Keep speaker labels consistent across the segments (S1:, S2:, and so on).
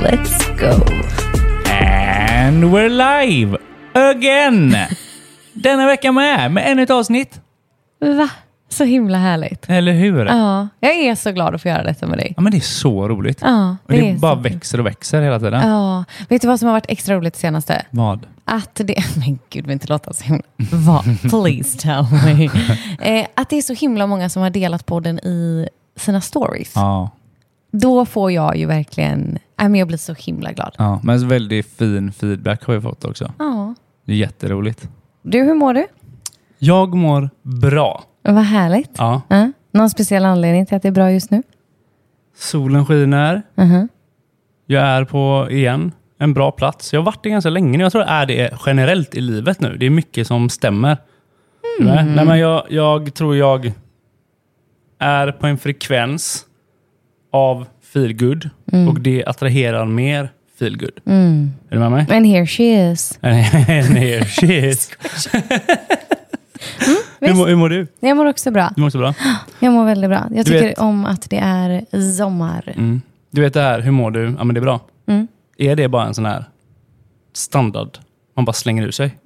S1: Let's go!
S2: And we're live! Again! Denna vecka med, med ännu ett avsnitt.
S1: Va? Så himla härligt.
S2: Eller hur?
S1: Ja, jag är så glad att få göra detta med dig.
S2: Ja, men det är så roligt.
S1: Ja,
S2: och det
S1: är
S2: bara
S1: så-
S2: växer och växer hela tiden.
S1: Ja, vet du vad som har varit extra roligt det senaste?
S2: Vad?
S1: Att det... Men gud, vill inte låta så himla... Vad? Please tell me. Eh, att det är så himla många som har delat podden i sina stories.
S2: Ja,
S1: Då får jag ju verkligen... Äh, men jag blir så himla glad.
S2: ja. Men väldigt fin feedback har vi fått också.
S1: Ja.
S2: Det är jätteroligt.
S1: Du, hur mår du?
S2: Jag mår bra.
S1: Vad härligt.
S2: Ja.
S1: Ja. Någon speciell anledning till att det är bra just nu?
S2: Solen skiner.
S1: Mhm.
S2: Jag är på, igen, en bra plats. Jag har varit det ganska länge nu. Jag tror det är det generellt i livet nu. Det är mycket som stämmer. Nej, Nej, men jag, jag tror jag är på en frekvens av feel good och det attraherar mer feel good.
S1: Mm.
S2: Är du med mig?
S1: And here she is.
S2: And here she is. hur, mår, hur mår du?
S1: Jag mår också bra.
S2: Du mår också bra?
S1: Jag mår väldigt bra.
S2: Du
S1: Jag tycker
S2: vet-
S1: om att det är sommar.
S2: Mm. Du vet det här, hur mår du? Ja men det är bra.
S1: Mm.
S2: Är det bara en sån här standard? Man bara slänger ur sig?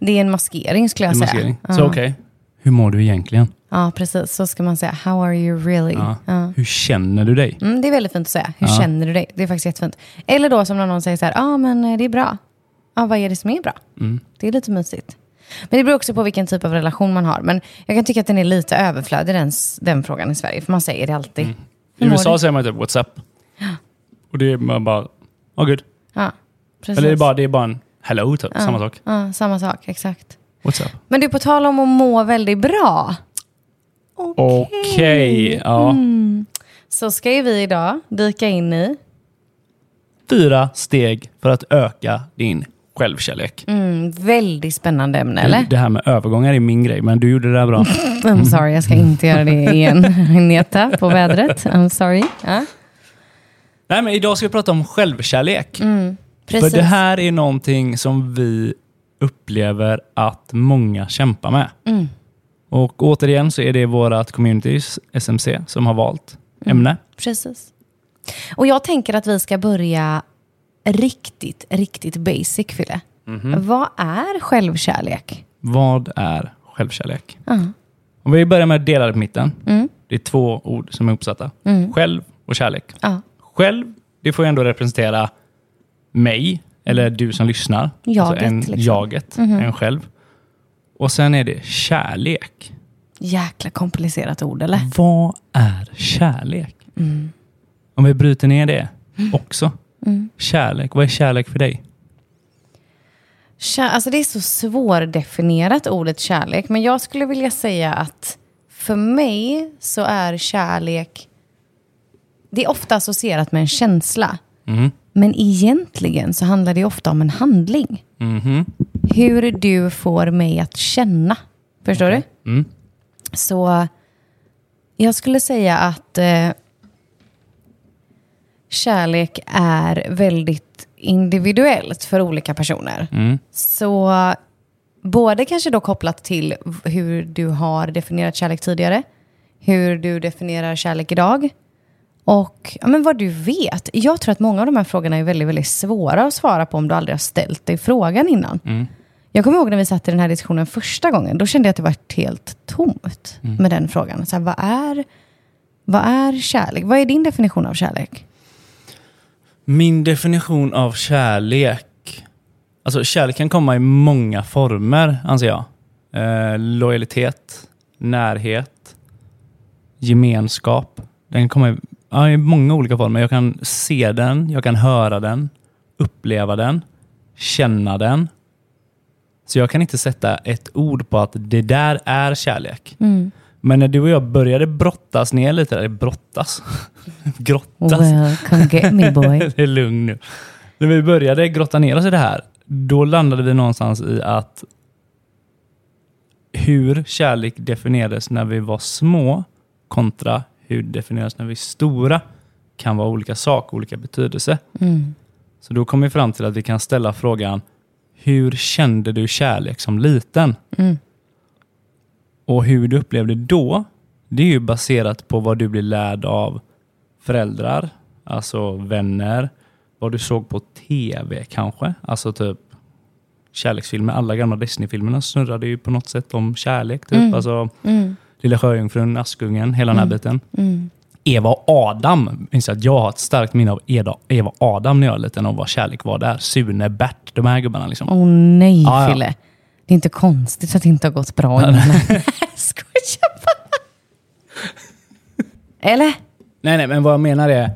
S1: Det är en maskering skulle jag
S2: i
S1: säga.
S2: maskering. Så okej, hur mår du egentligen?
S1: Ja, precis. Så ska man säga. How are you really?
S2: Ja. Hur känner du dig?
S1: Mm, det är väldigt fint att säga. Hur känner du dig? Det är faktiskt jättefint. Eller då som när någon säger så här, ja ah, men eh, det är bra. Ja, vad är det som är bra?
S2: Mm.
S1: Det är lite mysigt. Men det beror också på vilken typ av relation man har. Men jag kan tycka att den är lite överflödig, den, s- den frågan i Sverige. För man säger det alltid.
S2: I
S1: Hur mår
S2: USA
S1: du?
S2: säger man typ what's up? Och det är man bara, oh good.
S1: Ja, precis.
S2: Eller det är bara, det är bara en hello typ, samma sak.
S1: Ja, samma sak, exakt.
S2: What's up?
S1: Men du, på tal om att må väldigt bra.
S2: Okej, ja.
S1: Mm. Så ska ju vi idag dyka in i...
S2: Fyra steg för att öka din självkärlek.
S1: Mm, väldigt spännande ämne, eller?
S2: Det här med övergångar är min grej, men du gjorde det där bra.
S1: I'm sorry, jag ska inte göra det igen. Agneta, på vädret. I'm sorry. Ja,
S2: Nej, men idag ska vi prata om självkärlek.
S1: precis.
S2: För det här är någonting som vi upplever att många kämpar med.
S1: Mm.
S2: Och återigen så är det vårt community, SMC, som har valt
S1: Mm.
S2: ämne.
S1: Precis. Och jag tänker att vi ska börja riktigt, riktigt basic, Fille.
S2: Mhm.
S1: Vad är självkärlek?
S2: Vad är självkärlek? Om vi börjar med delad på mitten.
S1: Mm.
S2: Det är två ord som är uppsatta. Själv och kärlek.
S1: Ja.
S2: Själv, det får ju ändå representera mig, eller du som lyssnar. Alltså
S1: Jaget,
S2: en,
S1: liksom.
S2: jaget en själv. Och sen är det kärlek.
S1: Jäkla komplicerat ord, eller?
S2: Mm. Vad är kärlek? Om vi bryter ner det också. Kärlek, vad är kärlek för dig?
S1: Kär, alltså det är så svårdefinierat, ordet kärlek. Men jag skulle vilja säga att för mig så är kärlek... Det är ofta associerat med en känsla. Men egentligen så handlar det ofta om en handling. Hur du får mig att känna. Förstår du? Så jag skulle säga att eh, kärlek är väldigt individuellt för olika personer. Så både kanske då kopplat till v- hur du har definierat kärlek tidigare, hur du definierar kärlek idag och ja, men vad du vet. Jag tror att många av de här frågorna är väldigt, väldigt svåra att svara på om du aldrig har ställt dig frågan innan. Jag kommer ihåg när vi satt i den här diskussionen första gången, då kände jag att det var helt tomt med den frågan. Så här, vad, är, vad är kärlek? Vad är din definition av kärlek?
S2: Min definition av kärlek. Alltså kärlek kan komma i många former, anser jag. Eh, lojalitet, närhet, gemenskap. Den kan komma i, ja, i många olika former. Jag kan se den, jag kan höra den, uppleva den, känna den. Så jag kan inte sätta ett ord på att det där är kärlek. Men när du och jag började brottas ner lite, eller brottas? Grottas?
S1: Well, come get me boy.
S2: det är lugn nu. När vi började grotta ner oss i det här, då landade vi någonstans i att hur kärlek definierades när vi var små kontra hur det definieras när vi är stora kan vara olika sak, olika betydelse.
S1: Mm.
S2: Så då kom vi fram till att vi kan ställa frågan, hur kände du kärlek som liten?
S1: Mm.
S2: Och hur du upplevde då, det är ju baserat på vad du blir lärd av föräldrar, alltså vänner, vad du såg på tv kanske, alltså typ kärleksfilmer. Alla gamla Disney-filmerna snurrade ju på något sätt om kärlek, typ.
S1: Mm.
S2: Alltså
S1: Mm.
S2: Lilla Sjöjungfrun, Askungen, hela den här
S1: Mm.
S2: biten.
S1: Mm.
S2: Eva och Adam. Minns jag att jag har ett starkt minne av Eda- Eva och Adam när jag var liten och vad kärlek var där. Sune, Bert, de här gubbarna. Liksom.
S1: Åh nej,
S2: Ja, ja.
S1: Fille. Det är inte konstigt att det inte har gått bra innan. Skojar bara. Eller?
S2: Nej, nej, men vad jag menar är,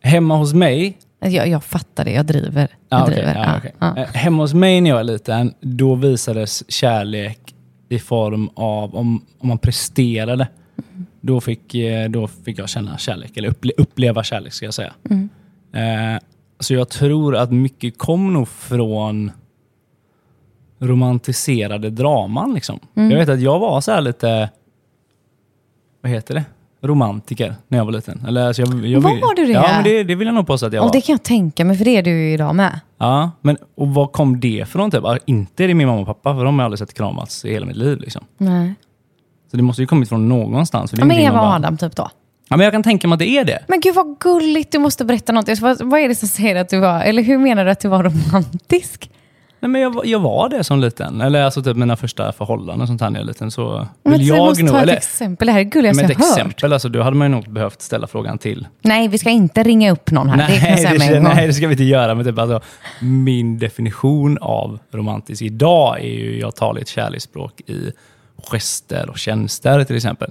S2: hemma hos mig,
S1: Alltså, Jag, jag fattar det, jag driver.
S2: Ja,
S1: Jag
S2: okej,
S1: driver.
S2: ja,
S1: Ja,
S2: okej.
S1: ja.
S2: Eh, hemma hos mig när jag var liten, då visades kärlek i form av om, om man presterade.
S1: Mm.
S2: Då, fick, eh, då fick jag känna kärlek, eller upple, uppleva kärlek ska jag säga.
S1: Mm.
S2: Eh, så jag tror att mycket kom nog från romantiserade draman. Liksom.
S1: Mm.
S2: Jag vet att jag var så här lite, vad heter det? Romantiker när jag var liten. Eller, alltså jag, jag,
S1: Var
S2: vill-
S1: du det?
S2: Ja, men det, det vill jag nog påstå att jag
S1: Och
S2: var.
S1: det kan jag tänka mig, för det är du ju idag med.
S2: Ja, men och var kom det ifrån? Typ? Ja, Inte är det min mamma och pappa, för de har jag aldrig sett kramats i hela mitt liv. Liksom.
S1: Nej.
S2: Så det måste ju kommit från någonstans. För det är
S1: Ja, men
S2: ingenting
S1: Eva
S2: man
S1: och
S2: bara-
S1: Adam typ då.
S2: Ja, men jag kan tänka mig att det är det.
S1: Men gud vad gulligt, du måste berätta något. Vad, vad är det som säger att du var, eller hur menar du att du var romantisk?
S2: Nej, men jag, var- jag var det som liten. Eller alltså typ mina första förhållanden och sånt här när jag var liten. Så vill
S1: Men, du
S2: jag
S1: måste
S2: nog...
S1: ta ett
S2: Eller,
S1: exempel, det här är det gulligaste
S2: men ett
S1: jag har hört.
S2: exempel, alltså, då hade man ju nog behövt ställa frågan till.
S1: Nej, vi ska inte ringa upp någon här. det kan jag säga med en gång.
S2: nej, det ska vi inte göra. Men typ, alltså, min definition av romantisk idag är ju, jag talar ett kärleksspråk i gester och tjänster till exempel.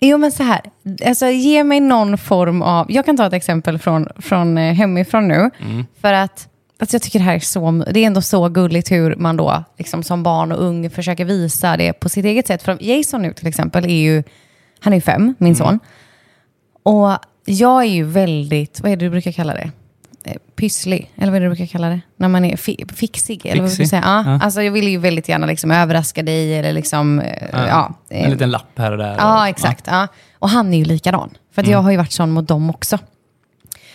S1: Jo, men så här. Alltså, ge mig någon form av... Jag kan ta ett exempel från, från eh, hemifrån nu. För att alltså, jag tycker det här är så... Det är ändå så gulligt hur man då liksom, som barn och ung försöker visa det på sitt eget sätt. För Jason nu till exempel är ju... Han är ju fem, min son. Och jag är ju väldigt... Vad är det du brukar kalla det? Eh, Pysslig, eller vad är det du brukar kalla det? När man är fi, fixig, eller vad ska
S2: Fixig,
S1: jag säga? Ja,
S2: ja.
S1: Alltså jag vill ju väldigt gärna liksom överraska dig eller liksom... eh, Ja,
S2: En liten lapp här och där.
S1: Ja, exakt. Ja. Och han är ju likadan. För
S2: Mm.
S1: att jag har ju varit sån mot dem också.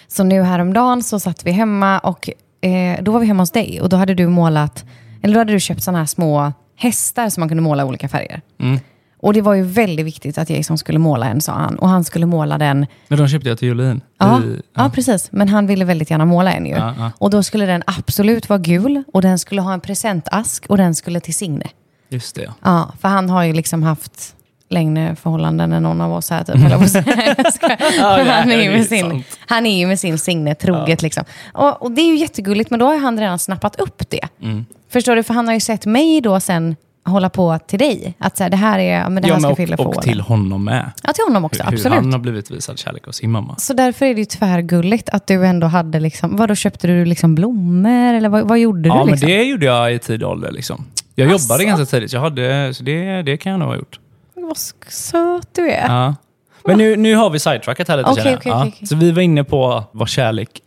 S1: Så nu häromdagen så satt vi hemma och eh, då var vi hemma hos dig och då hade du målat, eller då hade du köpt sådana här små hästar som man kunde måla i olika färger.
S2: Mm.
S1: Och det var ju väldigt viktigt att Jason skulle måla en, sa han. Och han skulle måla den
S2: Men de köpte jag till Julin.
S1: Ja,
S2: I-
S1: ja. precis. Men han ville väldigt gärna måla en ju.
S2: Ja, ja.
S1: Och då skulle den absolut vara gul och den skulle ha en presentask och den skulle till Signe.
S2: Just det.
S1: Ja, för han har ju liksom haft längre förhållanden än någon av oss här. Typ, höll jag på att säga. Jag skojar.
S2: Ja, ja,
S1: han, är
S2: det
S1: ju
S2: är
S1: med
S2: sant.
S1: sin, han är ju med sin Signe troget. Liksom. Och, och det är ju jättegulligt, men då har ju han redan snappat upp det.
S2: Mm.
S1: Förstår du? För han har ju sett mig då sen hålla på till dig. Att så här, det här är, ja, men det
S2: Ja,
S1: här
S2: men
S1: ska
S2: och,
S1: Fille få.
S2: och till honom med.
S1: Ja, till honom också.
S2: Hur- Hur
S1: absolut.
S2: han har blivit visad kärlek av sin mamma.
S1: Så därför är det ju tvärgulligt att du ändå hade, liksom, vadå köpte du liksom blommor eller vad, vad gjorde
S2: Ja,
S1: du?
S2: men
S1: Liksom?
S2: det gjorde jag i tidig ålder. Liksom. Jag
S1: Asså?
S2: jobbade ganska tidigt, så, jag hade, så det, det kan jag nog ha gjort.
S1: Vad sk- söt du är.
S2: Ja. Men nu, nu har vi sidetrackat här lite
S1: Okej,
S2: känner jag.
S1: okej,
S2: ja.
S1: okej, okej.
S2: Så vi var inne på vad kärlek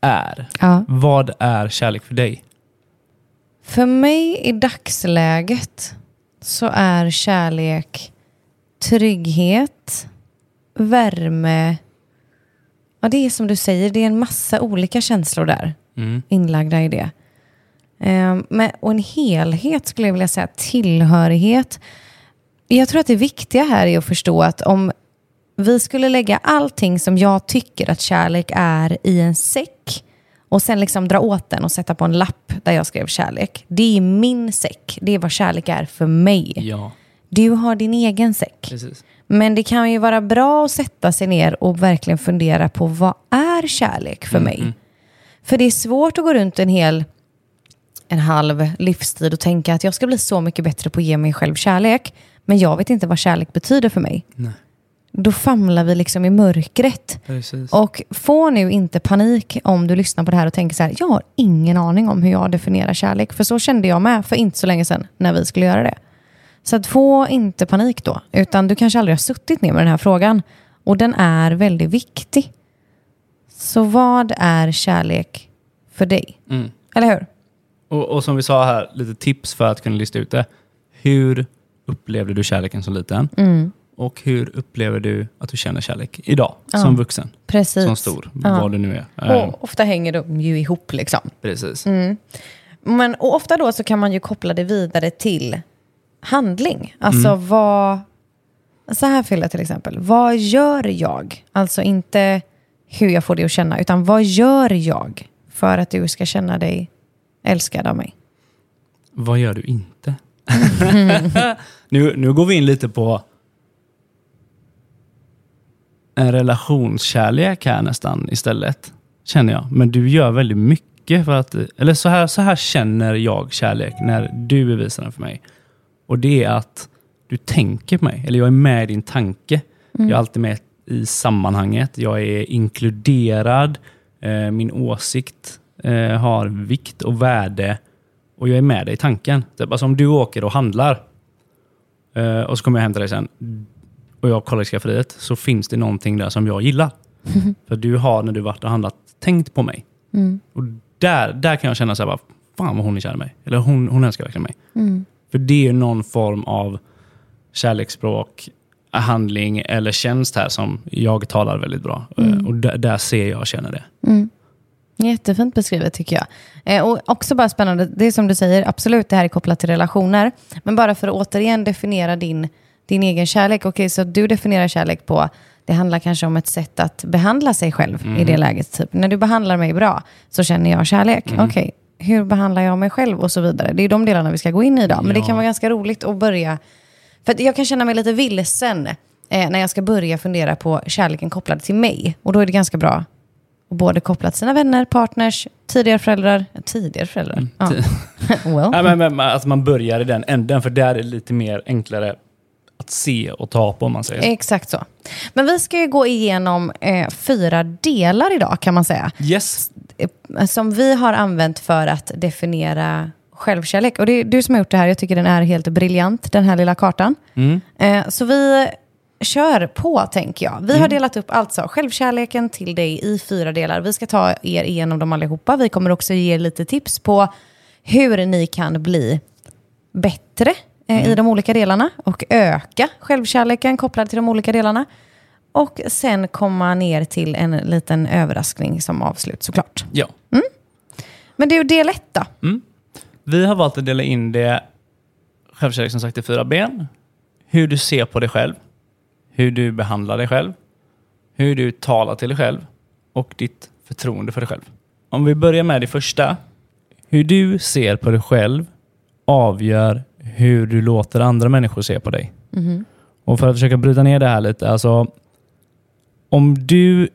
S2: är.
S1: Ja.
S2: Vad är kärlek för dig?
S1: För mig i dagsläget så är kärlek trygghet, värme. Ja, det är som du säger, det är en massa olika känslor där
S2: Mm.
S1: inlagda i det. Ehm, men, och en helhet skulle jag vilja säga, tillhörighet. Jag tror att det viktiga här är att förstå att om vi skulle lägga allting som jag tycker att kärlek är i en säck och sen liksom dra åt den och sätta på en lapp där jag skrev kärlek. Det är min säck. Det är vad kärlek är för mig.
S2: Ja,
S1: Du har din egen säck.
S2: precis.
S1: Men det kan ju vara bra att sätta sig ner och verkligen fundera på vad är kärlek
S2: Mm,
S1: för mig? För det är svårt att gå runt en hel en halv livstid och tänka att jag ska bli så mycket bättre på att ge mig själv kärlek, men jag vet inte vad kärlek betyder för mig.
S2: Nej.
S1: Då famlar vi liksom i mörkret.
S2: precis.
S1: Och få nu inte panik om du lyssnar på det här och tänker så här, jag har ingen aning om hur jag definierar kärlek. För så kände jag med för inte så länge sedan när vi skulle göra det. Så att få inte panik då, utan du kanske aldrig har suttit ner med den här frågan. Och den är väldigt viktig. Så vad är kärlek för dig?
S2: Mm.
S1: Eller hur?
S2: Och, och som vi sa här, lite tips för att kunna lista ut det. Hur upplevde du kärleken som liten?
S1: Mm.
S2: Och hur upplever du att du känner kärlek idag, som vuxen,
S1: Precis.
S2: som stor,
S1: Ja.
S2: vad du nu är? Eh,
S1: Och ofta hänger de ju ihop liksom.
S2: precis.
S1: Men, och ofta då så kan man ju koppla det vidare till handling. Alltså
S2: Mm.
S1: vad... Så här Frilla till exempel. Vad gör jag? Alltså inte hur jag får dig att känna, utan vad gör jag för att du ska känna dig älskad av mig?
S2: Vad gör du inte? nu, nu går vi in lite på en relationskärlek här nästan istället, känner jag. Men du gör väldigt mycket för att... Eller så här, så här känner jag kärlek när du bevisar den för mig. Och det är att du tänker på mig, eller jag är med i din tanke. Jag är alltid med i sammanhanget. Jag är inkluderad. Eh, min åsikt eh, har vikt och värde. Och jag är med dig i tanken. Typ, alltså om du åker och handlar eh, och så kommer jag hämta dig sen och jag kollar i skafferiet så finns det någonting där som jag gillar. För du har när du varit och handlat tänkt på mig. Och där, där kan jag känna så här, bara, fan vad hon är kär i mig. Eller hon, hon älskar verkligen mig. För det är ju någon form av kärleksspråk, handling eller tjänst här som jag talar väldigt bra. Eh, Och där, där ser jag och känner det.
S1: Jättefint beskrivet tycker jag. Eh, och också bara spännande, det är som du säger, absolut det här är kopplat till relationer. Men bara för att återigen definiera din, din egen kärlek. Okej, så du definierar kärlek på, det handlar kanske om ett sätt att behandla sig själv i det läget. Typ, när du behandlar mig bra så känner jag kärlek. Okej, hur behandlar jag mig själv och så vidare. Det är de delarna vi ska gå in i idag. Men det
S2: Ja.
S1: kan vara ganska roligt att börja för att jag kan känna mig lite vilsen eh, när jag ska börja fundera på kärleken kopplad till mig. Och då är det ganska bra att både koppla till sina vänner, partners, tidigare föräldrar. Eh, Tidigare föräldrar? Ja. well.
S2: Nej, men, men, att man börjar i den änden, för där är det lite mer enklare att se och ta på om man säger. så.
S1: Exakt så. Men vi ska ju gå igenom eh, fyra delar idag kan man säga.
S2: Yes.
S1: eh, som vi har använt för att definiera självkärlek. Och det är du som har gjort det här. Jag tycker den är helt briljant, den här lilla kartan. Eh, Så vi kör på, tänker jag. Vi har delat upp alltså självkärleken till dig i fyra delar. Vi ska ta er igenom dem allihopa. Vi kommer också ge er lite tips på hur ni kan bli bättre eh, i de olika delarna och öka självkärleken kopplad till de olika delarna. Och sen komma ner till en liten överraskning som avslut såklart.
S2: Ja.
S1: Men du, del ett då?
S2: Vi har valt att dela in det, självkärlek som sagt, i fyra ben. Hur du ser på dig själv, hur du behandlar dig själv, hur du talar till dig själv och ditt förtroende för dig själv. Om vi börjar med det första. Hur du ser på dig själv avgör hur du låter andra människor se på dig.
S1: Mm-hmm.
S2: Och för att försöka bryta ner det här lite. Alltså, om du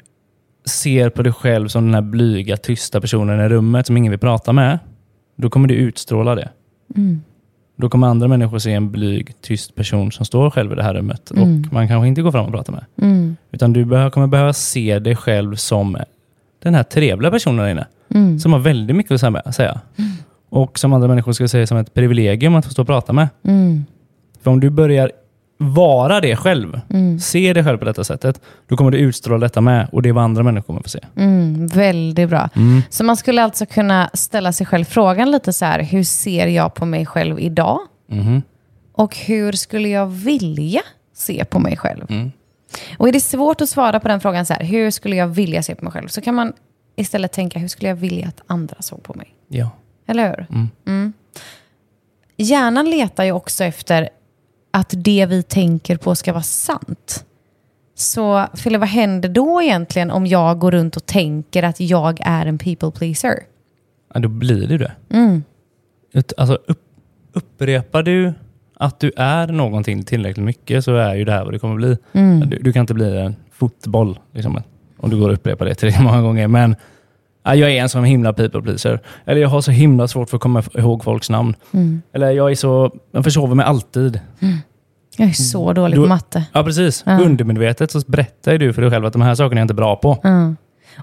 S2: ser på dig själv som den här blyga, tysta personen i rummet som ingen vill prata med, då kommer du utstråla det.
S1: Mm.
S2: Då kommer andra människor se en blyg, tyst person som står själv i det här rummet och man kanske inte går fram och pratar med.
S1: Mm.
S2: Utan du behö- kommer behöva se dig själv som den här trevliga personen där inne.
S1: Mm.
S2: Som har väldigt mycket att sä- säga. Och som andra människor skulle säga som ett privilegium att få stå och prata med. För om du börjar vara det själv, se dig själv på detta sättet, då kommer du utstråla detta med och det är vad andra människor kommer få se.
S1: Mm, väldigt bra. Så man skulle alltså kunna ställa sig själv frågan lite så här, hur ser jag på mig själv idag? Och hur skulle jag vilja se på mig själv? Och är det svårt att svara på den frågan så här, hur skulle jag vilja se på mig själv? Så kan man istället tänka, hur skulle jag vilja att andra såg på mig?
S2: Ja.
S1: Eller hur? Mm. Hjärnan letar ju också efter att det vi tänker på ska vara sant. Så Fille, vad händer då egentligen om jag går runt och tänker att jag är en people pleaser?
S2: Ja, då blir du det. Ut- Alltså, upp, upprepar du att du är någonting tillräckligt mycket så är ju det här vad det kommer bli. Du, du kan inte bli en fotboll liksom, om du går och upprepar det tillräckligt många gånger. Men ja, jag är en sån himla people pleaser. Eller jag har så himla svårt för att komma ihåg folks namn. Eller jag är så, jag försover mig alltid.
S1: Jag är så dålig
S2: Du-
S1: på matte.
S2: Ja, precis. Undermedvetet så berättar ju du för dig själv att de här sakerna är jag inte bra på.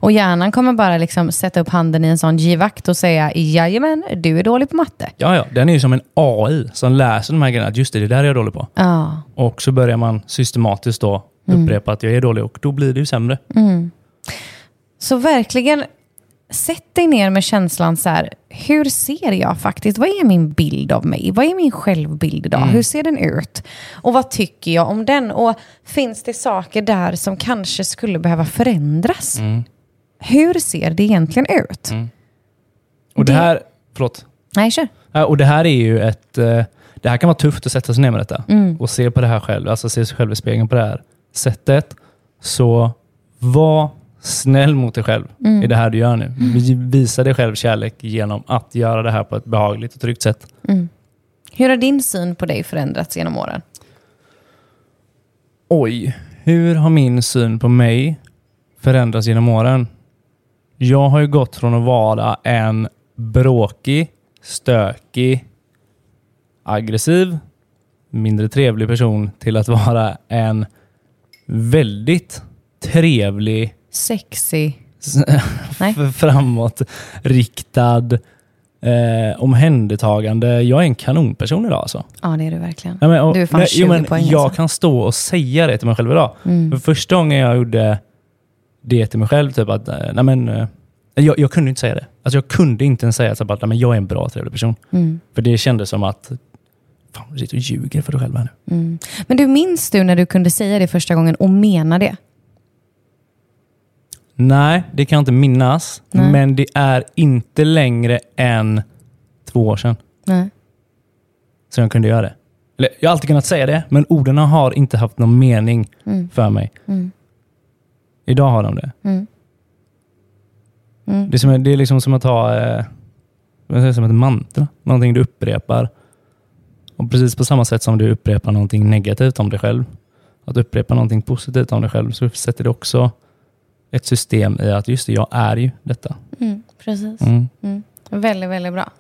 S1: Och hjärnan kommer bara liksom sätta upp handen i en sån givakt och säga jajamän, du är dålig på matte.
S2: Ja, ja. Den är ju som en AI som läser de här grejerna. att Just det, det där är jag dålig på.
S1: Ja.
S2: Och så börjar man systematiskt då upprepa att jag är dålig och då blir det ju sämre.
S1: Så verkligen, sätt dig ner med känslan så här, hur ser jag faktiskt? Vad är min bild av mig? Vad är min självbild idag? Hur ser den ut? Och vad tycker jag om den? Och finns det saker där som kanske skulle behöva förändras? Hur ser det egentligen ut?
S2: Och det
S1: Det-
S2: här, förlåt.
S1: Nej, kör.
S2: Ja, Och det här är ju ett... eh, Det här kan vara tufft att sätta sig ner med detta och se på det här själv. Alltså se sig själv i spegeln på det här sättet. Så var snäll mot dig själv i det här du gör nu. Vi- Visa dig själv kärlek genom att göra det här på ett behagligt och tryggt sätt.
S1: Hur har din syn på dig förändrats genom åren?
S2: Oj, hur har min syn på mig förändrats genom åren? Jag har ju gått från att vara en bråkig, stökig, aggressiv, mindre trevlig person till att vara en väldigt trevlig,
S1: Sexy. Nej.
S2: f- framåtriktad, eh, omhändertagande. Jag är en kanonperson idag alltså.
S1: Ja, det är du verkligen.
S2: Nej, men, och-
S1: Du är fan
S2: nej,
S1: 20 poäng,
S2: Jag
S1: alltså. Mm.
S2: kan stå och säga det till mig själv idag. För första gången jag gjorde det till mig själv, typ att, eh, nej men, eh, jag, jag kunde inte säga det. Alltså jag kunde inte ens säga typ att nej, men jag är en bra, trevlig person.
S1: Mm.
S2: För det kändes som att, fan du sitter och ljuger för dig själv här nu.
S1: Men du, minns du när du kunde säga det första gången och mena det?
S2: Nej, det kan jag inte minnas.
S1: Nej.
S2: Men det är inte längre än två år sedan
S1: Nej.
S2: som jag kunde göra det. Eller, jag har alltid kunnat säga det, men orden har inte haft någon mening för mig. Idag har de det. Det, är som, det är liksom som att ha eh, vad säger jag, som ett mantra. Någonting du upprepar. Och precis på samma sätt som du upprepar någonting negativt om dig själv. Att upprepa någonting positivt om dig själv så sätter det också ett system i att just det, jag är ju detta.
S1: precis.
S2: Mm.
S1: Väldigt, väldigt bra.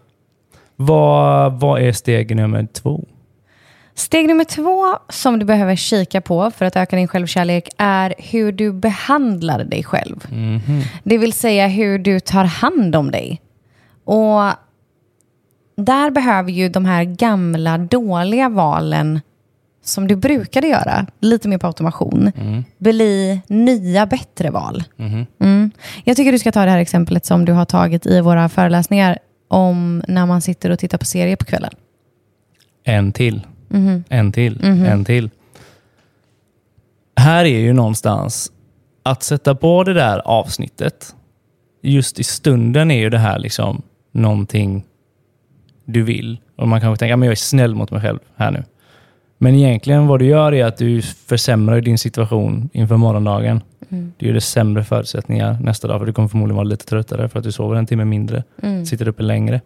S2: Vad, vad är steg nummer två?
S1: Steg nummer två som du behöver kika på för att öka din självkärlek är hur du behandlar dig själv. Det vill säga hur du tar hand om dig. Och där behöver ju de här gamla dåliga valen som du brukade göra, lite mer på automation, bli nya bättre val. Mm. Jag tycker du ska ta det här exemplet som du har tagit i våra föreläsningar om när man sitter och tittar på serier på kvällen.
S2: En till. En till. En till. Här är ju någonstans att sätta på det där avsnittet. Just i stunden är ju det här liksom någonting du vill. Och man kanske tänker att jag är snäll mot mig själv här nu. Men egentligen vad du gör är att du försämrar din situation inför morgondagen. Du gör det sämre förutsättningar nästa dag för du kommer förmodligen vara lite tröttare för att du sover en timme mindre, sitter uppe längre.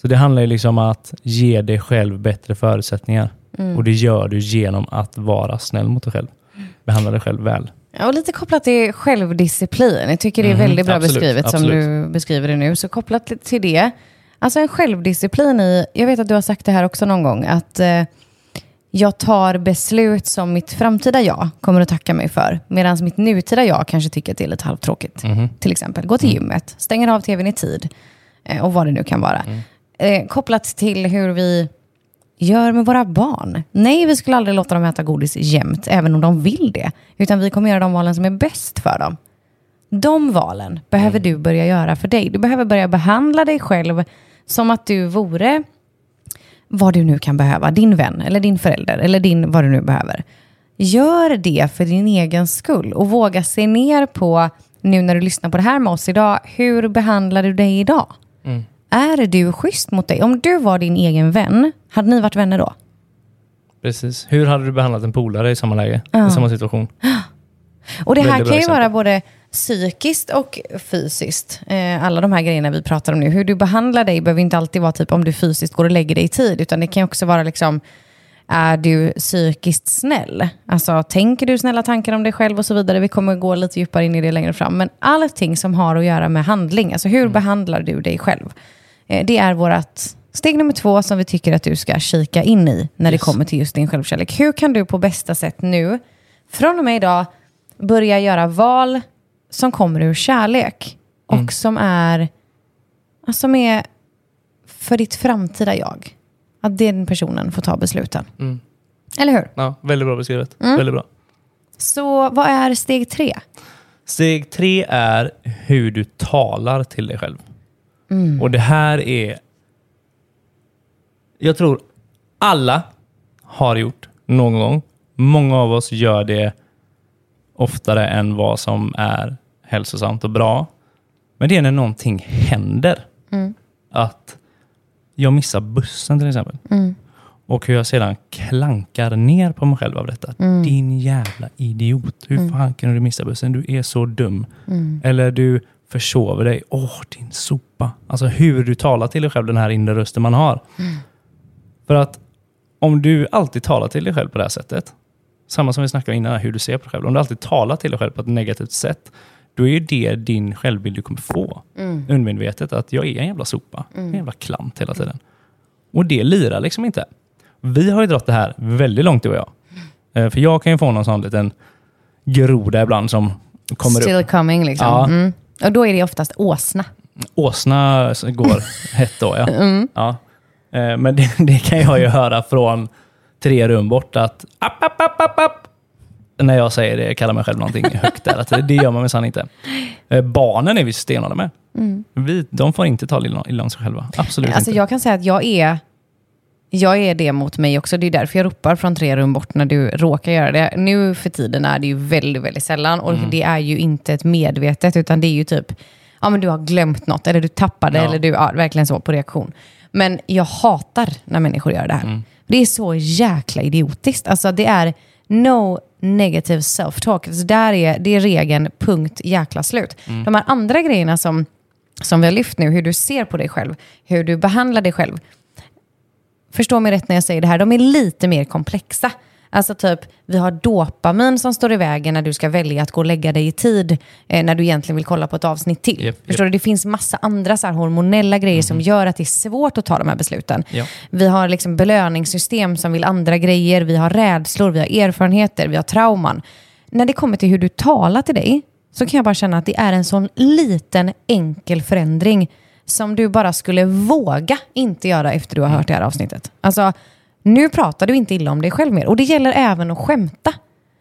S2: Så det handlar ju liksom om att ge dig själv bättre förutsättningar. Och det gör du genom att vara snäll mot dig själv. Behandla dig själv väl.
S1: Ja, och lite kopplat till självdisciplin. Jag tycker det är
S2: Mhm,
S1: väldigt bra
S2: absolut,
S1: beskrivet som
S2: absolut.
S1: du beskriver det nu. Så kopplat li- till det, alltså en självdisciplin i, jag vet att du har sagt det här också någon gång, att eh, jag tar beslut som mitt framtida jag kommer att tacka mig för. Medan mitt nutida jag kanske tycker att det är lite halvtråkigt.
S2: Mhm.
S1: Till exempel, gå till gymmet, stänger av tvn i tid eh, och vad det nu kan vara. Eh, kopplat till hur vi gör med våra barn. Nej, vi skulle aldrig låta dem äta godis jämt, även om de vill det. Utan vi kommer göra de valen som är bäst för dem. De valen behöver du börja göra för dig. Du behöver börja behandla dig själv som att du vore vad du nu kan behöva, din vän eller din förälder eller din vad du nu behöver. Gör det för din egen skull och våga se ner på, nu när du lyssnar på det här med oss idag, hur behandlar du dig idag? Är du schysst mot dig? Om du var din egen vän, hade ni varit vänner då?
S2: Precis. Hur hade du behandlat en polare i samma läge? I samma situation?
S1: Och det här
S2: Väldigt bra
S1: kan ju
S2: exempel.
S1: vara både psykiskt och fysiskt. Eh, alla de här grejerna vi pratar om nu. Hur du behandlar dig behöver inte alltid vara typ om du fysiskt går och lägger dig i tid, utan det kan ju också vara liksom är du psykiskt snäll? Alltså, tänker du snälla tankar om dig själv och så vidare? Vi kommer gå lite djupare in i det längre fram. Men allting som har att göra med handling, alltså hur
S2: Mm.
S1: behandlar du dig själv? Eh, Det är vårt steg nummer två som vi tycker att du ska kika in i när
S2: Yes.
S1: det kommer till just din självkärlek. Hur kan du på bästa sätt nu, från och med idag, börja göra val som kommer ur kärlek och
S2: Mm.
S1: som är alltså, som är för ditt framtida jag. Att den personen får ta besluten.
S2: Mm.
S1: Eller hur?
S2: Ja, väldigt bra beskrivet.
S1: Mm.
S2: Väldigt bra.
S1: Så vad är steg tre?
S2: Steg tre är hur du talar till dig själv. Och det här är... Jag tror alla har gjort någon gång. Många av oss gör det oftare än vad som är hälsosamt och bra. Men det är när någonting händer. Att jag missar bussen till exempel. Och hur jag sedan klankar ner på mig själv av detta. Din jävla idiot. Hur fan kunde du missa bussen? Du är så dum. Eller du försover dig. Åh, din sopa. Alltså hur du talar till dig själv, den här inre rösten man har. För att om du alltid talar till dig själv på det här sättet, samma som vi snackade om innan, hur du ser på dig själv. Om du alltid talar till dig själv på ett negativt sätt, då är ju det din självbild du kommer få. Undermedvetet att jag är en jävla sopa. En jävla klant hela tiden. Och det lirar liksom inte. Vi har ju dragit det här väldigt långt du och jag. Eh, För jag kan ju få någon sån liten groda ibland som kommer upp.
S1: Still coming liksom.
S2: Ja.
S1: Mm. Och då är det oftast åsna.
S2: Åsna går hett då, ja. ja. Eh, Men det, det kan jag ju höra från tre rum bort att app, app, app, app, app, när jag säger det, jag kallar mig själv någonting högt där. Att det- det gör man minsann inte. Eh, Barnen är vi stenhårda med. Vi, de får inte ta illa illa om sig själva. Absolut
S1: Alltså
S2: inte.
S1: jag kan säga att jag är, jag är det mot mig också. Det är därför jag ropar från tre rum bort när du råkar göra det. Nu för tiden är det ju väldigt, väldigt sällan och det är ju inte ett medvetet utan det är ju typ, ja men du har glömt något eller du tappade
S2: Ja.
S1: eller du, ja, verkligen så på reaktion. Men jag hatar när människor gör det här. Det är så jäkla idiotiskt. Alltså det är no negative self-talk. Så där är, det är regeln, punkt, jäkla slut. De här andra grejerna som som vi har lyft nu, hur du ser på dig själv, hur du behandlar dig själv. Förstå mig rätt när jag säger det här, de är lite mer komplexa. Alltså typ, vi har dopamin som står i vägen när du ska välja att gå och lägga dig i tid eh, när du egentligen vill kolla på ett avsnitt till.
S2: Japp,
S1: Förstår du? Det finns massa andra så här hormonella grejer som gör att det är svårt att ta de här besluten.
S2: Ja.
S1: Vi har liksom belöningssystem som vill andra grejer, vi har rädslor, vi har erfarenheter, vi har trauman. När det kommer till hur du talar till dig så kan jag bara känna att det är en sån liten enkel förändring som du bara skulle våga inte göra efter du har hört det här avsnittet. Alltså, nu pratar du inte illa om dig själv mer och det gäller även att skämta.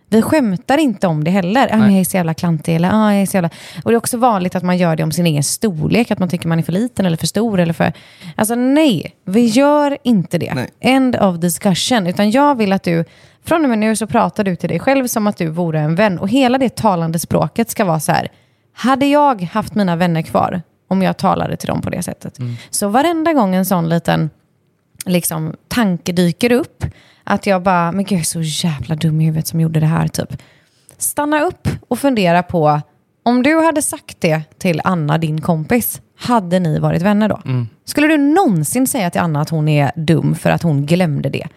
S1: Vi skämtar inte om det heller. Ah, men jag är så jävla klantig. Eller, ah, jag är så jävla... Och det är också vanligt att man gör det om sin egen storlek. Att man tycker man är för liten eller för stor. Eller för... Alltså nej, vi gör inte det.
S3: Nej.
S1: End of discussion. Utan jag vill att du, från och med nu så pratar du till dig själv som att du vore en vän. Och hela det talande språket ska vara så här. Hade jag haft mina vänner kvar om jag talade till dem på det sättet? Så varenda gång en sån liten liksom, tanke dyker upp. Att jag bara, men gud jag är så jävla dum i huvudet som gjorde det här. typ. Stanna upp och fundera på, om du hade sagt det till Anna, din kompis, hade ni varit vänner då?
S2: Mm.
S1: Skulle du någonsin säga till Anna att hon är dum för att hon glömde det?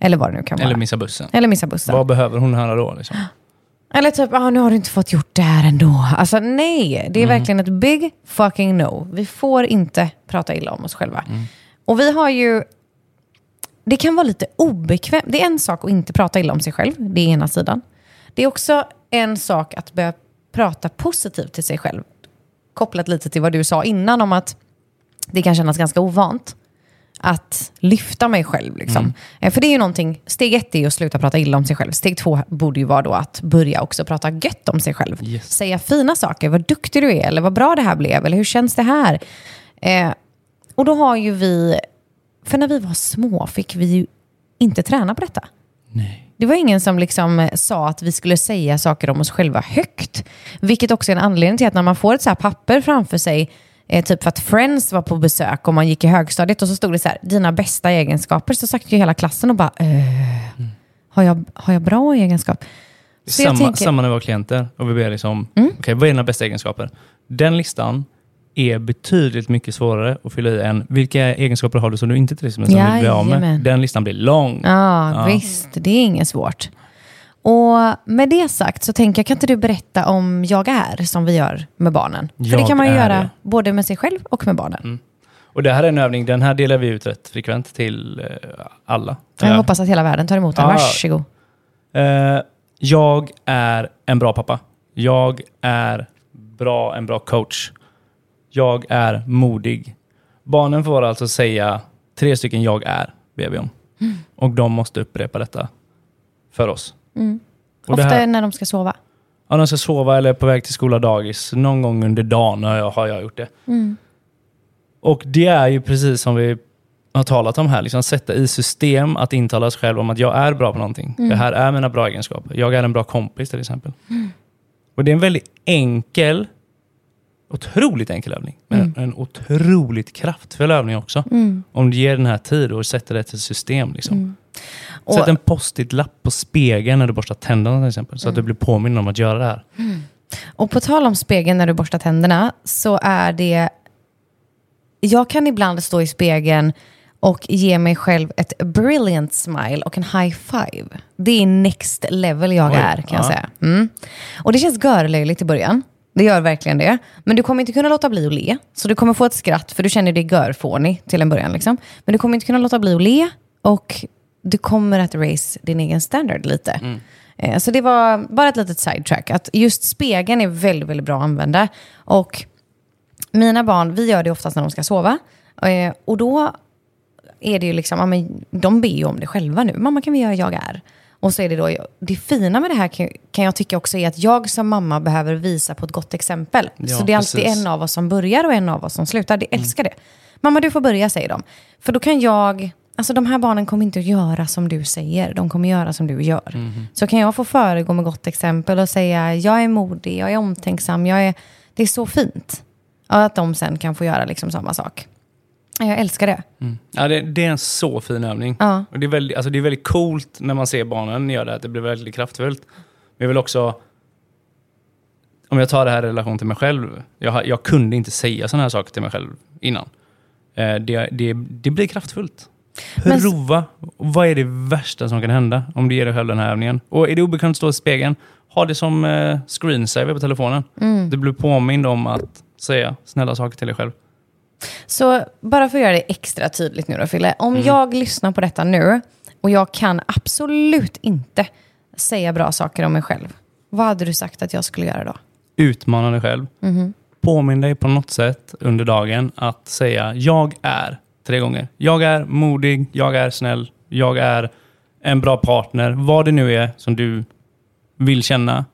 S1: Eller vad det nu kan vara.
S2: Eller missa bussen.
S1: Eller missa bussen.
S2: Vad behöver hon höra då? Liksom?
S1: Eller typ, ah, nu har du inte fått gjort det här ändå. Alltså nej, det är
S2: Mm.
S1: verkligen ett big fucking no. Vi får inte prata illa om oss själva.
S2: Mm.
S1: Och vi har ju... Det kan vara lite obekvämt. Det är en sak att inte prata illa om sig själv, det är ena sidan. Det är också en sak att börja prata positivt till sig själv. Kopplat lite till vad du sa innan om att det kan kännas ganska ovant att lyfta mig själv. Liksom. Eh, För det är ju någonting, steg ett är ju att sluta prata illa om sig själv. Steg två borde ju vara då att börja också prata gött om sig själv.
S2: Yes.
S1: Säga fina saker, vad duktig du är, eller vad bra det här blev, eller hur känns det här? Eh, och då har ju vi, för när vi var små fick vi ju inte träna på detta.
S2: Nej.
S1: Det var ingen som liksom eh, sa att vi skulle säga saker om oss själva högt. Vilket också är en anledning till att när man får ett så här papper framför sig, eh, typ för att Friends var på besök och man gick i högstadiet och så stod det så här, dina bästa egenskaper, så sagt ju hela klassen och bara, eh, har, jag, har jag bra egenskap? Så jag
S2: Samma,
S1: tänker- Mm.
S2: samma när vi har klienter och vi ber liksom, okej, vad är dina bästa egenskaper? Den listan är betydligt mycket svårare att fylla i än vilka egenskaper har du som du inte trivs med, som du vill bli av med.
S1: Jajamän.
S2: Den listan blir lång.
S1: Ja, visst. Det är inget svårt. Och med det sagt så tänker jag, kan inte du berätta om Jag är, som vi gör med barnen? För det
S2: Jag
S1: kan man ju
S2: är
S1: göra
S2: det.
S1: både med sig själv och med barnen.
S2: Och det här är en övning, den här delar vi ut rätt frekvent till eh, alla.
S1: Jag
S2: Eh,
S1: hoppas att hela världen tar emot den.
S2: Ja.
S1: Varsågod.
S2: eh, jag är en bra pappa. Jag är bra, en bra coach. Jag är modig. Barnen får alltså säga tre stycken jag är, ber vi om. Och de måste upprepa detta för oss. Och det
S1: Ofta
S2: här-
S1: när de ska sova.
S2: Ja, de ska sova eller är på väg till skola, dagis. Någon gång under dagen har jag, har jag gjort det. Och det är ju precis som vi har talat om här, liksom sätta i system att intala sig själv om att jag är bra på någonting. Det här är mina bra egenskaper. Jag är en bra kompis till exempel. Och det är en väldigt enkel, otroligt enkel övning. Men en otroligt kraftfull övning också. Om du ger den här tid och sätter det till system. Liksom.
S1: Och-
S2: Sätt en post-it-lapp på spegeln när du borstar tänderna till exempel. Så att du blir påminn om att göra det här.
S1: Och på tal om spegeln när du borstar tänderna så är det... Jag kan ibland stå i spegeln och ge mig själv ett brilliant smile och en high five. Det är next level jag
S2: Oj,
S1: är kan jag
S2: ja.
S1: säga. Mm. Och det känns görlöjligt i början. Det gör verkligen det. Men du kommer inte kunna låta bli att le. Så du kommer få ett skratt för du känner dig görfånig till en början. Liksom. Men du kommer inte kunna låta bli att le och du kommer att raise din egen standard lite. Eh, Så det var bara ett litet sidetrack. Att just spegeln är väldigt, väldigt bra att använda. Och mina barn, vi gör det oftast när de ska sova. Eh, Och då är det ju liksom, ja, men de ber ju om det själva nu. Mamma kan vi göra jag är? Och så är det då, det fina med det här kan- kan jag tycka också är att jag som mamma behöver visa på ett gott exempel.
S2: Ja,
S1: så det är alltid
S2: precis. Mm.
S1: en av oss som börjar och en av oss som slutar. Det älskar det. Mamma du får börja säger de. För då kan jag, alltså de här barnen kommer inte att göra som du säger. De kommer göra som du gör.
S2: Mhm.
S1: Så kan jag få föregå med gott exempel och säga jag är modig, jag är omtänksam, jag är, det är så fint. Ja, att de sen kan få göra liksom samma sak. Ja, Jag älskar det.
S2: Mm. Ja, det, det är en så fin övning.
S1: Ja.
S2: Och det, är väldigt, alltså det är väldigt coolt när man ser barnen göra det, att det blir väldigt kraftfullt. Men jag vill också, om jag tar det här i relation till mig själv, jag, har- jag kunde inte säga sådana här saker till mig själv innan. Eh, det, det, det blir kraftfullt.
S1: Men-
S2: Prova. Vad är det värsta som kan hända om du ger dig själv den här övningen? Och är det obekvämt att stå i spegeln, ha det som eh, screensaver på telefonen.
S1: Mm.
S2: Du blir påmind om att säga snälla saker till dig själv.
S1: Så bara för att göra det extra tydligt nu då, Fille. Om jag lyssnar på detta nu och jag kan absolut inte säga bra saker om mig själv. Vad hade du sagt att jag skulle göra då?
S2: utmana dig själv.
S1: Mm-hmm.
S2: Påminn dig på något sätt under dagen att säga jag är tre gånger. Jag är modig, jag är snäll, jag är en bra partner. Vad det nu är som du vill känna.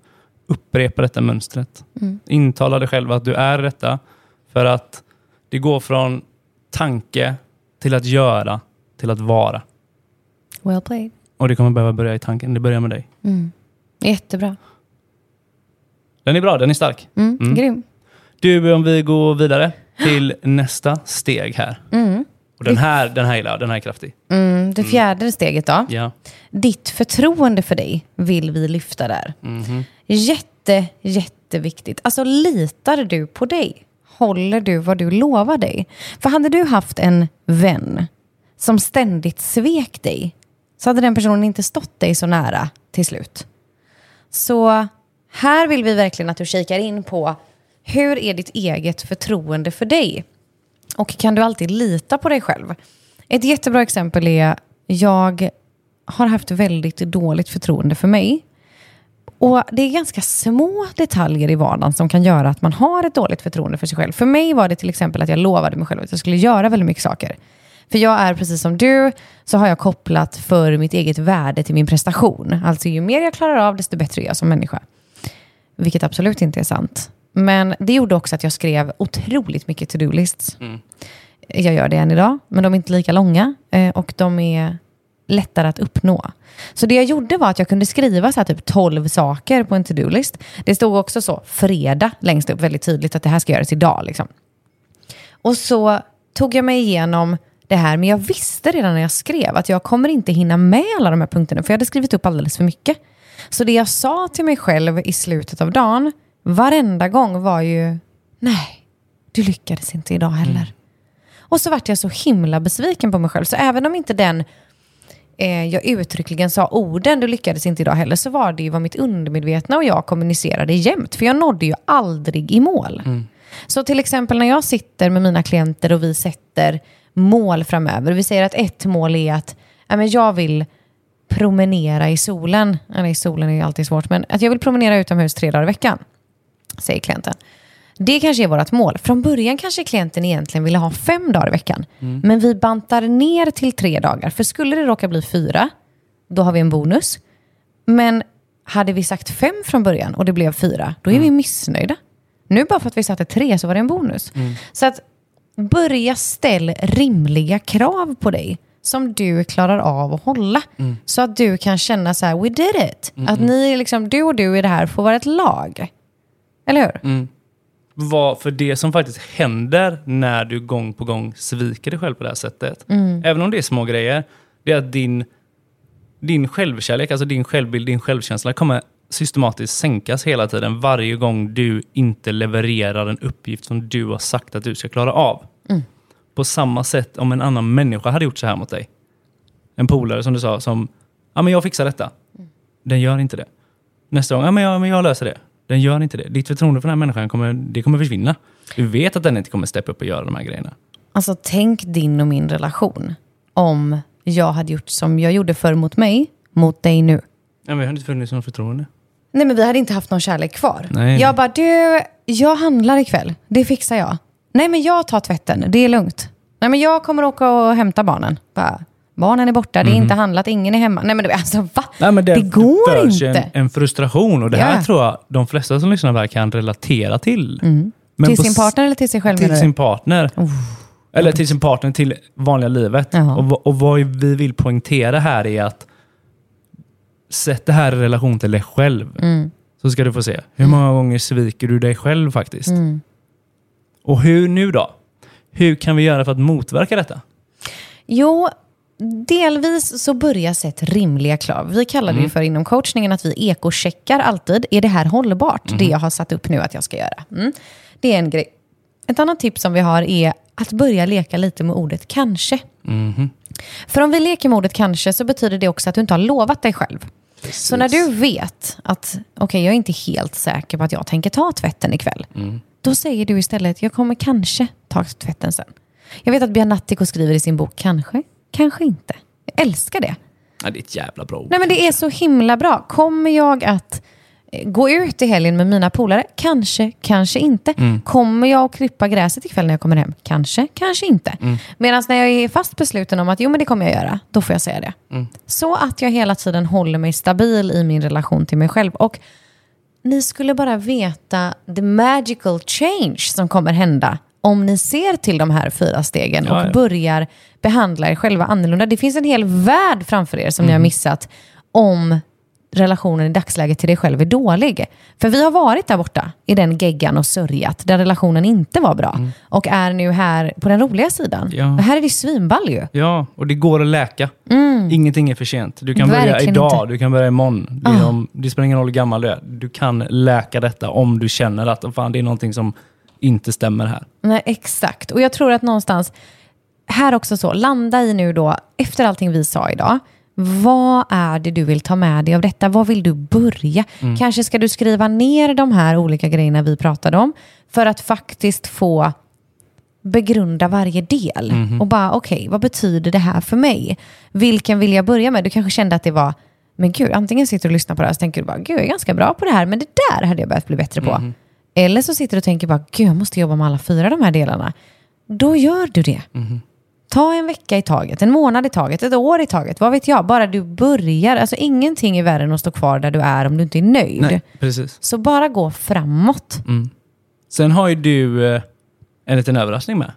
S2: Upprepa detta mönstret. Intala dig själv att du är detta. För att det går från tanke till att göra till att vara.
S1: Well played.
S2: Och det kommer behöva börja i tanken. Det börjar med dig.
S1: Jättebra.
S2: Den är bra, den är stark.
S1: Mm. Grym.
S2: Du, om vi går vidare till nästa steg här. Och den här, den här gillar jag, den här är kraftig.
S1: Mm. Det fjärde steget då.
S2: Ja.
S1: Ditt förtroende för dig vill vi lyfta där.
S2: Mhm.
S1: Jätte, jätteviktigt. Alltså litar du på dig? Håller du vad du lovar dig? För hade du haft en vän som ständigt svek dig så hade den personen inte stått dig så nära till slut. Så här vill vi verkligen att du kikar in på hur är ditt eget förtroende för dig? Och kan du alltid lita på dig själv? Ett jättebra exempel är, jag har haft väldigt dåligt förtroende för mig. Och Det är ganska små detaljer i vardagen som kan göra att man har ett dåligt förtroende för sig själv. För mig var det till exempel att jag lovade mig själv att jag skulle göra väldigt mycket saker. För jag är precis som du, så har jag kopplat för mitt eget värde till min prestation. Alltså ju mer jag klarar av, desto bättre är jag som människa. Vilket absolut inte är sant. Men det gjorde också att jag skrev otroligt mycket to-do-lists. Jag gör det än idag, men de är inte lika långa eh, och de är lättare att uppnå. Så det jag gjorde var att jag kunde skriva så här typ 12 saker på en to-do-list. Det stod också så fredag längst upp väldigt tydligt att det här ska göras idag. Liksom. Och så tog jag mig igenom det här, men jag visste redan när jag skrev att jag kommer inte hinna med alla de här punkterna, för jag hade skrivit upp alldeles för mycket. Så det jag sa till mig själv i slutet av dagen, varenda gång var ju, nej, du lyckades inte idag heller. Och så vart jag så himla besviken på mig själv, så även om inte den eh, jag uttryckligen sa orden, du lyckades inte idag heller, så var det ju vad mitt undermedvetna och jag kommunicerade jämt. För jag nådde ju aldrig i mål. Så till exempel när jag sitter med mina klienter och vi sätter mål framöver. Vi säger att ett mål är att ja, men jag vill promenera i solen. Eller i solen är ju alltid svårt, men att jag vill promenera utomhus tre dagar i veckan, säger klienten. Det kanske är vårt mål. Från början kanske klienten egentligen ville ha fem dagar i veckan. Men vi bantar ner till tre dagar. För skulle det råka bli fyra, då har vi en bonus. Men hade vi sagt fem från början och det blev fyra, då är vi missnöjda. Nu bara för att vi satte tre så var det en bonus. Så att börja ställ rimliga krav på dig som du klarar av att hålla. Så att du kan känna så här, we did it. Att ni liksom, du och du i det här får vara ett lag. Eller hur?
S2: Vad, för det som faktiskt händer när du gång på gång sviker dig själv på det här sättet, även om det är små grejer, det är att din, din självkärlek, alltså din självbild, din självkänsla kommer systematiskt sänkas hela tiden varje gång du inte levererar en uppgift som du har sagt att du ska klara av. På samma sätt om en annan människa hade gjort så här mot dig. En polare som du sa som, ja men jag fixar detta. Den gör inte det. Nästa gång, ja men jag, men jag löser det. Den gör inte det. Ditt förtroende för den här människan kommer, det kommer försvinna. Du vet att den inte kommer steppa upp och göra de här grejerna.
S1: Alltså tänk din och min relation om jag hade gjort som jag gjorde förr mot mig, mot dig nu.
S2: Ja, men jag har inte funnits någon förtroende.
S1: Nej men vi hade inte haft någon kärlek kvar.
S2: Nej.
S1: Jag bara, du, jag handlar ikväll. Det fixar jag. Nej men jag tar tvätten, det är lugnt. Nej men jag kommer åka och hämta barnen. Bara, barnen är borta, det är
S2: Mhm.
S1: inte handlat, ingen är hemma. Nej men du, alltså va? det, går
S2: föds ju
S1: inte.
S2: En, en frustration och det här
S1: Ja.
S2: tror jag de flesta som lyssnar på det här kan relatera till. Men
S1: Mm. Till
S2: på
S1: sin
S2: s-
S1: partner eller till sig själv?
S2: Till
S1: menar du?
S2: sin partner. Eller till sin partner, till vanliga livet.
S1: Jaha.
S2: Och, vad- och vad vi vill poängtera här är att sätt det här i relation till dig själv.
S1: Mm.
S2: Så ska du få se. Hur många gånger sviker du dig själv faktiskt?
S1: Mm.
S2: Och hur nu då? Hur kan vi göra för att motverka detta?
S1: Jo, delvis så börjar sett rimliga krav. Vi kallar det ju för inom coachningen att vi ekocheckar alltid. Är det här hållbart, det jag har satt upp nu att jag ska göra? Mm. Det är en grej. Ett annat tips som vi har är att börja leka lite med ordet kanske. För om vi leker med ordet kanske så betyder det också att du inte har lovat dig själv. Så när du vet att okej, jag är inte helt säker på att jag tänker ta tvätten ikväll. Då säger du istället, jag kommer kanske ta tvätten sen. Jag vet att Bianattico skriver i sin bok, kanske, kanske inte. Jag älskar det.
S2: Ja, det är ett jävla bra ord.
S1: Nej men det är så himla bra. Kommer jag att eh, gå ut i helgen med mina polare? Kanske, kanske inte.
S2: Mm.
S1: Kommer jag att klippa gräset ikväll när jag kommer hem? Kanske, kanske inte.
S2: Mm.
S1: Medan när jag är fast besluten om att jo men det kommer jag göra, då får jag säga det.
S2: Mm.
S1: Så att jag hela tiden håller mig stabil i min relation till mig själv. Och ni skulle bara veta the magical change som kommer hända om ni ser till de här fyra stegen
S2: Ja,
S1: och
S2: ja.
S1: börjar behandla er själva annorlunda. Det finns en hel värld framför er
S2: Mm.
S1: som ni har missat om relationen i dagsläget till dig själv är dålig. För vi har varit där borta i den geggan och sörjat där relationen inte var bra och är nu här på den roliga sidan.
S2: Ja.
S1: Och här är det svinball ju.
S2: Ja, och det går att läka. Ingenting är för sent. Du kan börja
S1: Mm. Verkligen
S2: idag,
S1: inte. Ah.
S2: du kan börja imorgon. Det, är om, det spelar ingen roll hur gammal du är. Du kan läka detta om du känner att "Åh, fan, det är någonting som inte stämmer här.
S1: Nej, exakt. Och jag tror att någonstans, här också så, landa i nu då, efter allting vi sa idag, vad är det du vill ta med dig av detta? Vad vill du börja? Kanske ska du skriva ner de här olika grejerna vi pratade om för att faktiskt få begrunda varje del och bara okej, vad betyder det här för mig? Vilken vill jag börja med? Du kanske kände att det var, men gud, antingen sitter du och lyssnar på det här så tänker du bara, gud, jag är ganska bra på det här, men det där hade jag behövt bli bättre på. Eller så sitter du och tänker bara, gud, jag måste jobba med alla fyra de här delarna. Då gör du det. Ta en vecka i taget, en månad i taget, ett år i taget, vad vet jag, bara du börjar. Alltså ingenting är värre än att stå kvar där du är om du inte är nöjd.
S2: precis.
S1: Så bara gå framåt.
S2: Sen har ju du eh, en liten överraskning med.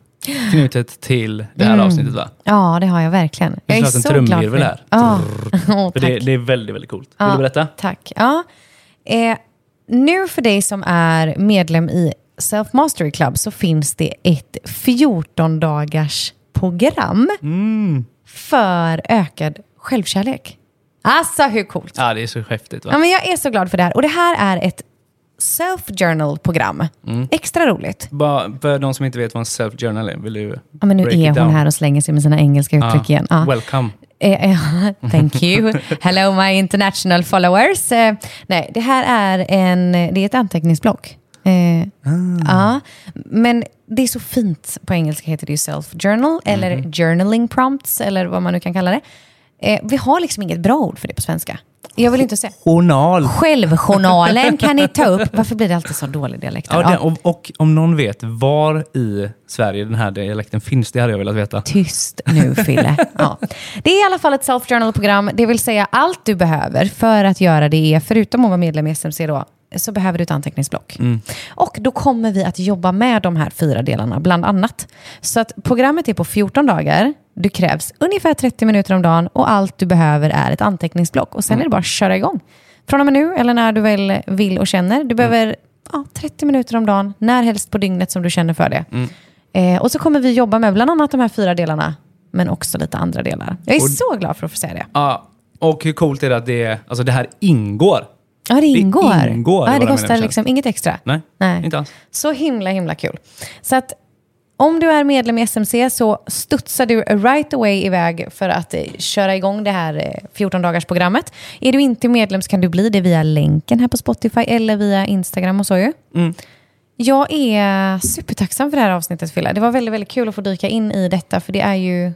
S2: Knutet till det
S1: Mm.
S2: här avsnittet va?
S1: Ja, det har jag verkligen. Jag är
S2: snart en
S1: så glad för
S2: trumvirvel
S1: det.
S2: här.
S1: Ja.
S2: För
S1: Åh, tack.
S2: det, det är väldigt, väldigt coolt. Vill
S1: Ja.
S2: du berätta?
S1: Tack. Ja. Eh, nu för dig som är medlem i Self Mastery Club så finns det ett 14 dagars program
S2: Mm.
S1: för ökad självkärlek. Alltså hur coolt?
S2: Ja, det är så häftigt va?
S1: Ja, men jag är så glad för det här. Och det här är ett self-journal-program.
S2: Mm.
S1: Extra roligt.
S2: Bara för de som inte vet vad en self-journal är, vill du
S1: Ja, men nu
S2: break
S1: är
S2: it
S1: hon
S2: down? Ah.
S1: här och slänger sig med sina engelska uttryck igen. Ja.
S2: Welcome.
S1: Eh, eh, Thank you. Hello my international followers. Eh, nej, det här är, en, det är ett anteckningsblock. Eh, ja, men det är så fint. På engelska heter det ju self-journal eller journaling prompts eller vad man nu kan kalla det. Eh, vi har liksom inget bra ord för det på svenska. Jag vill inte se.
S2: Journal.
S1: Självjournalen kan ni ta upp. Varför blir det alltid så dålig dialekt?
S2: Ja,
S1: Ja.
S2: den, och, och om någon vet var i Sverige den här dialekten finns, det hade jag velat veta.
S1: Tyst nu, Fille. Ja. Det är i alla fall ett self-journal-program. Det vill säga allt du behöver för att göra det är, förutom att vara medlem i SMC då, så behöver du ett anteckningsblock. Och då kommer vi att jobba med de här fyra delarna, bland annat. Så att programmet är på 14 dagar. Du krävs ungefär 30 minuter om dagen och allt du behöver är ett anteckningsblock. Och sen är det bara att köra igång. Från och med nu, eller när du väl vill och känner. Du behöver ja, 30 minuter om dagen, när helst på dygnet som du känner för det. Eh, och så kommer vi jobba med bland annat de här fyra delarna, men också lite andra delar. Jag är
S2: Och-
S1: så glad för att få säga det.
S2: Ja, och hur coolt är det att det, alltså det här ingår?
S1: Ja, det ingår.
S2: ingår i våra
S1: ja, det kostar
S2: medlemstjänst.
S1: liksom inget extra.
S2: Nej,
S1: Nej.
S2: inte alls.
S1: Så himla, himla kul. Så att om du är medlem i SMC så studsar du right away iväg för att eh, köra igång det här eh, 14-dagarsprogrammet. Är du inte medlem så kan du bli det via länken här på Spotify eller via Instagram och så ju. Jag är supertacksam för det här avsnittet Fille. Det var väldigt, väldigt kul att få dyka in i detta för det är ju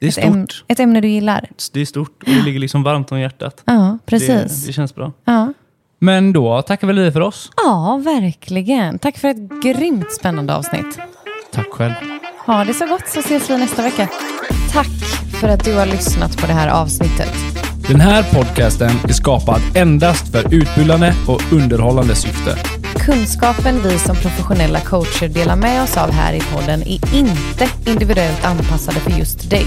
S2: Det är
S1: ett, äm-
S2: stort.
S1: ett ämne du gillar.
S2: Det är stort och det ligger liksom varmt om hjärtat.
S1: Ja,
S2: Det,
S1: precis.
S2: det känns bra.
S1: Ja.
S2: Men då tackar väl vi för oss.
S1: ja, verkligen. Tack för ett grymt spännande avsnitt.
S2: Tack själv.
S1: Ha det så gott så ses vi nästa vecka. Tack för att du har lyssnat på det här avsnittet.
S2: Den här podcasten är skapad endast för utbildande och underhållande syfte.
S1: Kunskapen vi som professionella coacher delar med oss av här i podden är inte individuellt anpassade för just dig.